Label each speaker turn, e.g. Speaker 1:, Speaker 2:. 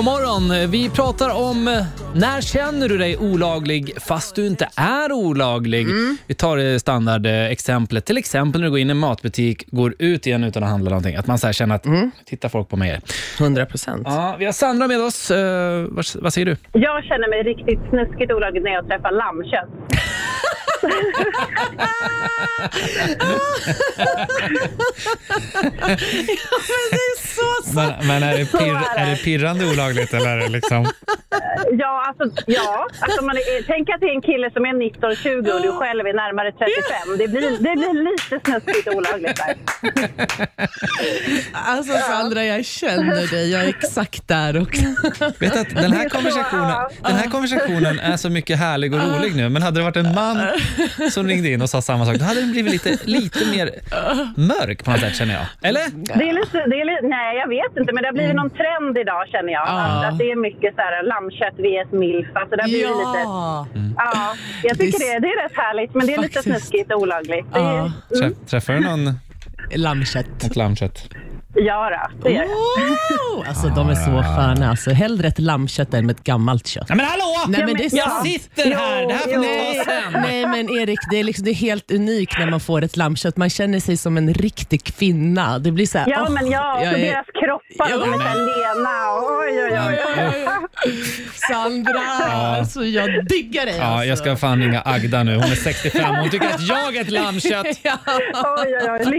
Speaker 1: God morgon! Vi pratar om eh, när känner du dig olaglig fast du inte är olaglig?
Speaker 2: Mm.
Speaker 1: Vi tar det standardexemplet. Till exempel när du går in i en matbutik, går ut igen utan att handla någonting. Att man så här känner att,
Speaker 2: Mm.
Speaker 1: tittar folk på mig?
Speaker 3: 100 procent.
Speaker 1: Ja, vi har Sandra med oss. Eh, vad, vad säger du?
Speaker 4: Jag känner mig riktigt snuskigt olaglig när jag träffar lammkött.
Speaker 2: Men, men är, det pirr, är det pirrande olagligt eller är det liksom?
Speaker 4: Ja, alltså, ja. Alltså, man är, tänk att det är en kille som är 19-20 och du själv är närmare 35. Det blir, det blir lite snuskigt olagligt där.
Speaker 3: Alltså Sandra, jag känner dig. Jag är exakt där också.
Speaker 2: Vet du att den här, konversationen, den här konversationen är så mycket härlig och rolig nu, men hade det varit en man som ringde in och sa samma sak, då hade den blivit lite, lite mer mörk på något sätt känner jag.
Speaker 1: Eller?
Speaker 4: Det är lite, det är li- nej, jag vet inte, men det har
Speaker 3: Mm.
Speaker 4: blivit någon trend idag känner jag. Att, att det är mycket så här, lammkött vs milf. Alltså, det blir det lite,
Speaker 3: Ja.
Speaker 4: ja, jag tycker det, är- det är rätt härligt, men det är lite
Speaker 3: Faktiskt.
Speaker 4: snuskigt och olagligt. Det är,
Speaker 3: Ja.
Speaker 2: Trä, träffar du någon
Speaker 3: Lammkött.
Speaker 2: ett lammkött?
Speaker 4: ja, då, det gör jag.
Speaker 3: Wow! Alltså de är
Speaker 2: Ah.
Speaker 3: så sköna. Alltså, hellre ett lammkött än ett gammalt kött.
Speaker 2: Nej men hallå!
Speaker 3: Nej, men det är
Speaker 4: Ja,
Speaker 3: sant.
Speaker 2: Sitter här! Det här får ni ta sen.
Speaker 3: Nej men Erik, det är, liksom, det är helt unikt när man får ett lammkött. Man känner sig som en riktig kvinna. Det blir så här,
Speaker 4: Ja,
Speaker 3: åh,
Speaker 4: men ja,
Speaker 3: jag
Speaker 4: och
Speaker 3: är-
Speaker 4: deras kroppar,
Speaker 3: Ja,
Speaker 4: de är
Speaker 3: men-
Speaker 4: så här lena och oj, oj, oj.
Speaker 3: Sandra, alltså, jag diggar dig.
Speaker 2: Ja, jag
Speaker 3: alltså.
Speaker 2: ska fan ringa Agda nu. Hon är 65 hon tycker att jag är ett lammkött.
Speaker 3: Ja.
Speaker 4: Oj, oj, oj.